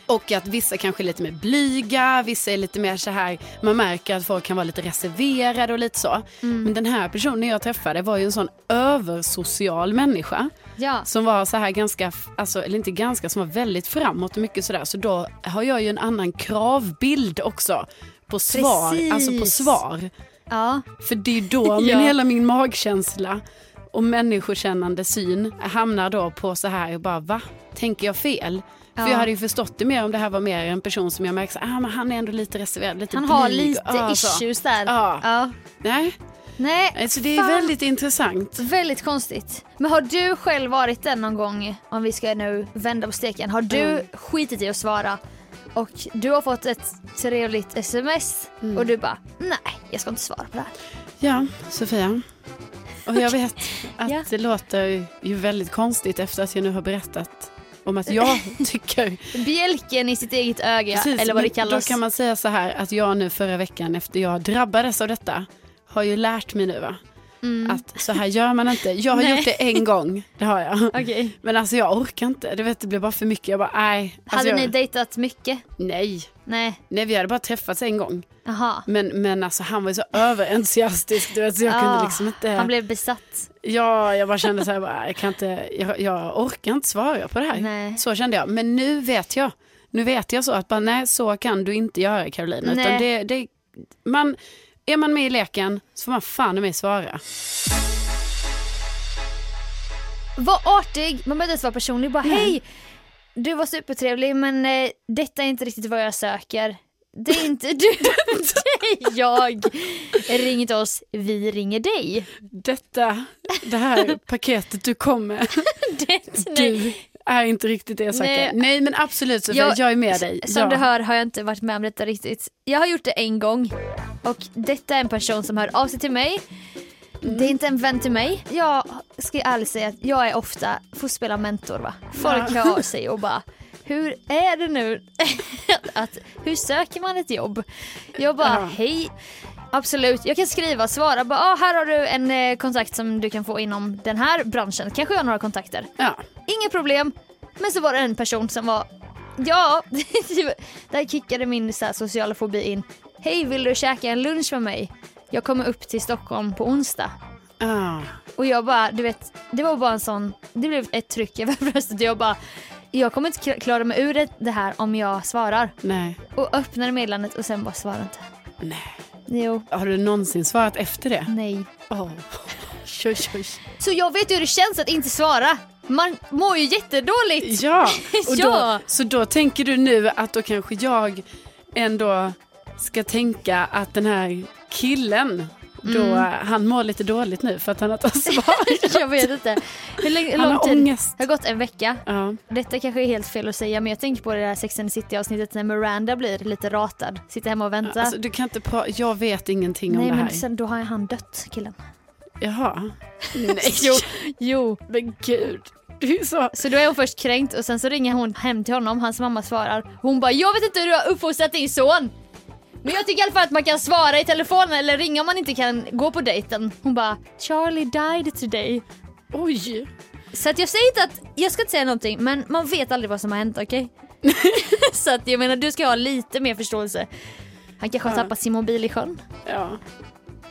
B: Och att vissa kanske är lite mer blyga, vissa är lite mer så här, man märker att folk kan vara lite reserverade och lite så. Men den här personen jag träffade var ju en sån översocial människa.
A: Ja.
B: Som var så här ganska, alltså, eller inte ganska, som var väldigt framåt och mycket sådär. Så då har jag ju en annan kravbild också. På svar,
A: Precis.
B: alltså på svar.
A: ja.
B: För det är ju då min,
A: Ja.
B: hela min magkänsla och människokännande syn hamnar då på så här och bara va? Tänker jag fel? För
A: Ja.
B: jag hade ju förstått det mer om det här var mer en person som jag märker så, ah, men han är ändå lite reserverad, lite
A: Han har
B: blyg.
A: lite
B: Ja, så.
A: issues där.
B: Ja.
A: Ja.
B: Nej,
A: Nej,
B: alltså det är
A: Fan.
B: väldigt intressant.
A: väldigt konstigt. Men har du själv varit den någon gång, om vi ska nu vända på steken, har du
B: Mm.
A: skitit i att svara och du har fått ett trevligt sms
B: Mm.
A: och du bara nej, jag ska inte svara på det här.
B: Ja, Sofia. Och jag vet att
A: Ja.
B: det låter ju väldigt konstigt efter att jag nu har berättat om att jag tycker
A: Bjälken i sitt eget öga
B: Precis,
A: eller vad det
B: men
A: kallas.
B: Då kan man säga så här att jag nu förra veckan efter jag drabbades av detta har ju lärt mig nu va? Att så här gör man inte. Jag har
A: Mm. Nej.
B: gjort det en gång, det har jag.
A: Okej.
B: Men alltså jag orkar inte, du vet det blev bara för mycket. Jag bara nej. Alltså,
A: Hade
B: jag,
A: ni dejtat mycket?
B: Nej.
A: Nej.
B: Nej vi hade bara träffats en gång.
A: Jaha.
B: Men, men alltså han var ju så överentusiastisk du vet så jag kunde
A: Ah,
B: liksom inte.
A: Han blev besatt.
B: Ja jag bara kände så här, bara, jag, kan inte, jag, jag orkar inte svara på det här.
A: Nej.
B: Så kände jag, men nu vet jag. Nu vet jag så att bara, nej så kan du inte göra Carolina. Utan
A: Nej.
B: det, det, man, är man med i leken så får man fan i mig svara.
A: Var artig, man behöver inte ens vara personlig. Bara hej, du var supertrevlig men eh, detta är inte riktigt vad jag söker. Det är inte du, det är jag. Ring inte oss, vi ringer dig.
B: Detta, det här paketet du kom med,
A: Det, nej.
B: du är inte riktigt det jag söker. Nej,
A: Nej.
B: men absolut Sofia, jag,
A: Jag-
B: är med dig.
A: Som
B: ja.
A: du hör har jag inte varit med om detta riktigt. Jag har gjort det en gång och detta är en person som hör av sig till mig.
B: Mm.
A: Det är inte en vän till mig. Jag ska ärligt säga att jag är ofta, får spela mentor va. Folk
B: Ja.
A: hör av sig och bara hur är det nu? att, hur söker man ett jobb? Jag bara
B: Ja.
A: hej. Absolut, jag kan skriva, svara bara ah, här har du en eh, kontakt som du kan få inom den här branschen. Kanske jag har några kontakter.
B: Ja.
A: Inga problem. Men så var det en person som var, ja, där kickade min så här, sociala fobi in. Hej, vill du käka en lunch med mig? Jag kommer upp till Stockholm på onsdag.
B: Ah.
A: Och jag bara, du vet, det var bara en sån, det blev ett tryck över bröstet. Jag bara, jag kommer inte kla- klara mig ur det- det här om jag svarar.
B: Nej.
A: Och öppnade meddelandet och sen bara svarade inte.
B: nej.
A: Jo,
B: Har du någonsin svarat efter det?
A: nej.
B: Oh. Tjoj, tjoj.
A: Så jag vet ju hur det känns att inte svara. Man mår ju jättedåligt.
B: Ja, och då,
A: Ja.
B: så då tänker du nu att då kanske jag ändå ska tänka att den här killen, då,
A: Mm.
B: han mår lite dåligt nu för att han har tagit svar.
A: Jag vet inte. Hur länge, hur
B: Han
A: lång
B: har
A: tid?
B: ångest.
A: Det har gått en vecka.
B: Ja.
A: Detta kanske är helt fel att säga men jag tänker på det där Sex and the City avsnittet när Miranda blir lite ratad. Sitter hemma och väntar.
B: Alltså, du kan inte pra- jag vet ingenting om
A: Nej
B: det här.
A: men sen då har han dött killen.
B: Jaha. Nej,
A: Jo.
B: men gud. Det är så.
A: Så då är hon först kränkt och sen så ringer hon hem till honom, hans mamma svarar. Hon bara jag vet inte hur du har uppfostrat din son. Men jag tycker i alla fall att man kan svara i telefonen eller ringa om man inte kan gå på dejten. Hon bara Charlie died today.
B: Oj.
A: Så att jag säger inte att, jag ska inte säga någonting men man vet aldrig vad som har hänt okej? så att jag menar du ska ha lite mer förståelse. Han kanske har
B: Ja.
A: tappat sin mobil i sjön.
B: Ja.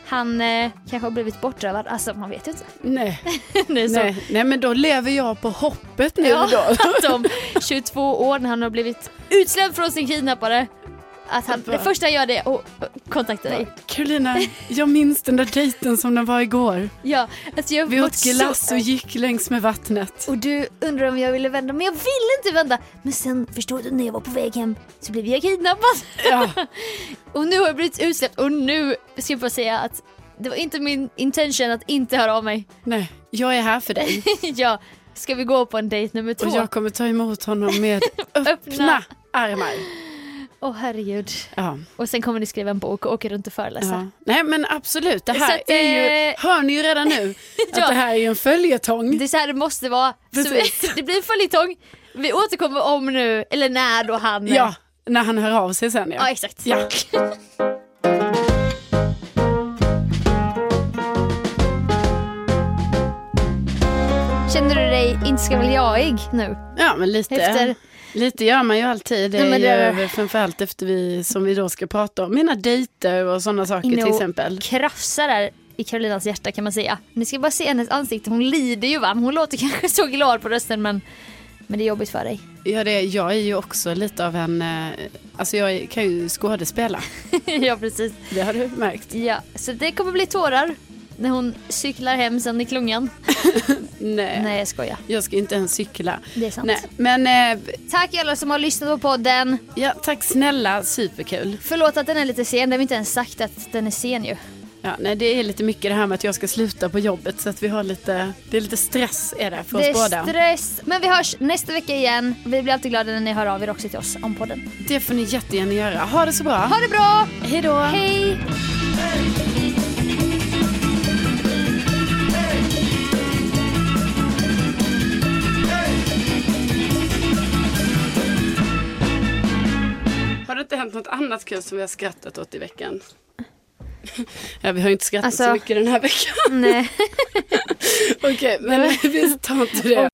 A: Han eh, kanske har blivit bortrövad, alltså man vet ju inte.
B: Nej.
A: Det är så.
B: Nej. Nej, men då lever jag på hoppet nu
A: Ja,
B: då.
A: att om 22 år när han har blivit utsläppt från sin kidnappare. Att
B: Alltså.
A: han, det första han gör det är att kontakta dig.
B: Carolina, jag minns den där dejten som den var igår.
A: Ja, alltså jag har
B: Vi
A: varit
B: åt glass
A: så-
B: och gick längs med vattnet.
A: Och du undrar om jag ville vända, men jag ville inte vända. Men sen förstår du, när jag var på väg hem så blev jag kidnappad.
B: Ja,
A: Och nu har jag blivit utsläppt och nu ska jag bara säga att det var inte min intention att inte höra av mig.
B: nej, jag är här för dig
A: ja, ska vi gå på en dejt nummer två?
B: och
A: Åh
B: jag kommer ta emot honom med öppna
A: Öppna.
B: armar.
A: herregud.
B: Ja,
A: Och sen kommer ni skriva en bok och åka runt och föreläsa.
B: ja. Nej men absolut, det
A: Så
B: här
A: att,
B: är ju,
A: eh,
B: hör ni ju redan nu,
A: Ja.
B: att det här är ju en följetong.
A: Det är så här det måste vara. Så vi,
B: Precis.
A: det blir en följetong. Vi återkommer om nu, eller när då han...
B: Ja, när han hör av sig sen
A: ja
B: ja.
A: exakt.
B: Ja.
A: Känner du dig inte ska väl jagig nu?
B: Ja men lite.
A: Efter
B: Lite gör man ju alltid. Det
A: Nej,
B: är
A: men
B: ju
A: det-
B: över- framförallt efter vi, som vi då ska prata om, mina dejter och sådana saker
A: Inne
B: till
A: och
B: exempel.
A: krafsar där i Karolinas hjärta kan man säga. Ni ska bara se hennes ansikte, hon lider ju va? Men Hon låter kanske så glad på rösten men, men det är jobbigt för dig.
B: Ja, det, jag är ju också lite av en, eh, alltså jag är- kan ju skådespela.
A: ja precis.
B: Det har du märkt.
A: Ja, så det kommer bli tårar när hon cyklar hem sen i klungan.
B: Nej.
A: Nej jag skojar,
B: Jag ska inte ens cykla.
A: det är sant.
B: Nej, men eh,
A: Tack alla som har lyssnat på podden.
B: ja, tack snälla, superkul.
A: Förlåt att den är lite sen, det har vi inte ens sagt att den är sen ju.
B: Ja, nej, det är lite mycket det här med att jag ska sluta på jobbet så att vi har lite, det är lite stress är det för
A: det
B: oss båda.
A: är stress. Men vi hörs nästa vecka igen. Vi blir alltid glada när ni hör av er också till oss om podden.
B: Det får ni jättegärna göra. Ha det så bra.
A: Ha det bra!
B: Hej då.
A: Hej!
B: Har det inte hänt något annat kul som vi har skrattat åt i veckan? Ja, vi har ju inte skrattat så
A: Alltså-
B: mycket den här veckan.
A: Nej.
B: Okej, men vi tar inte det.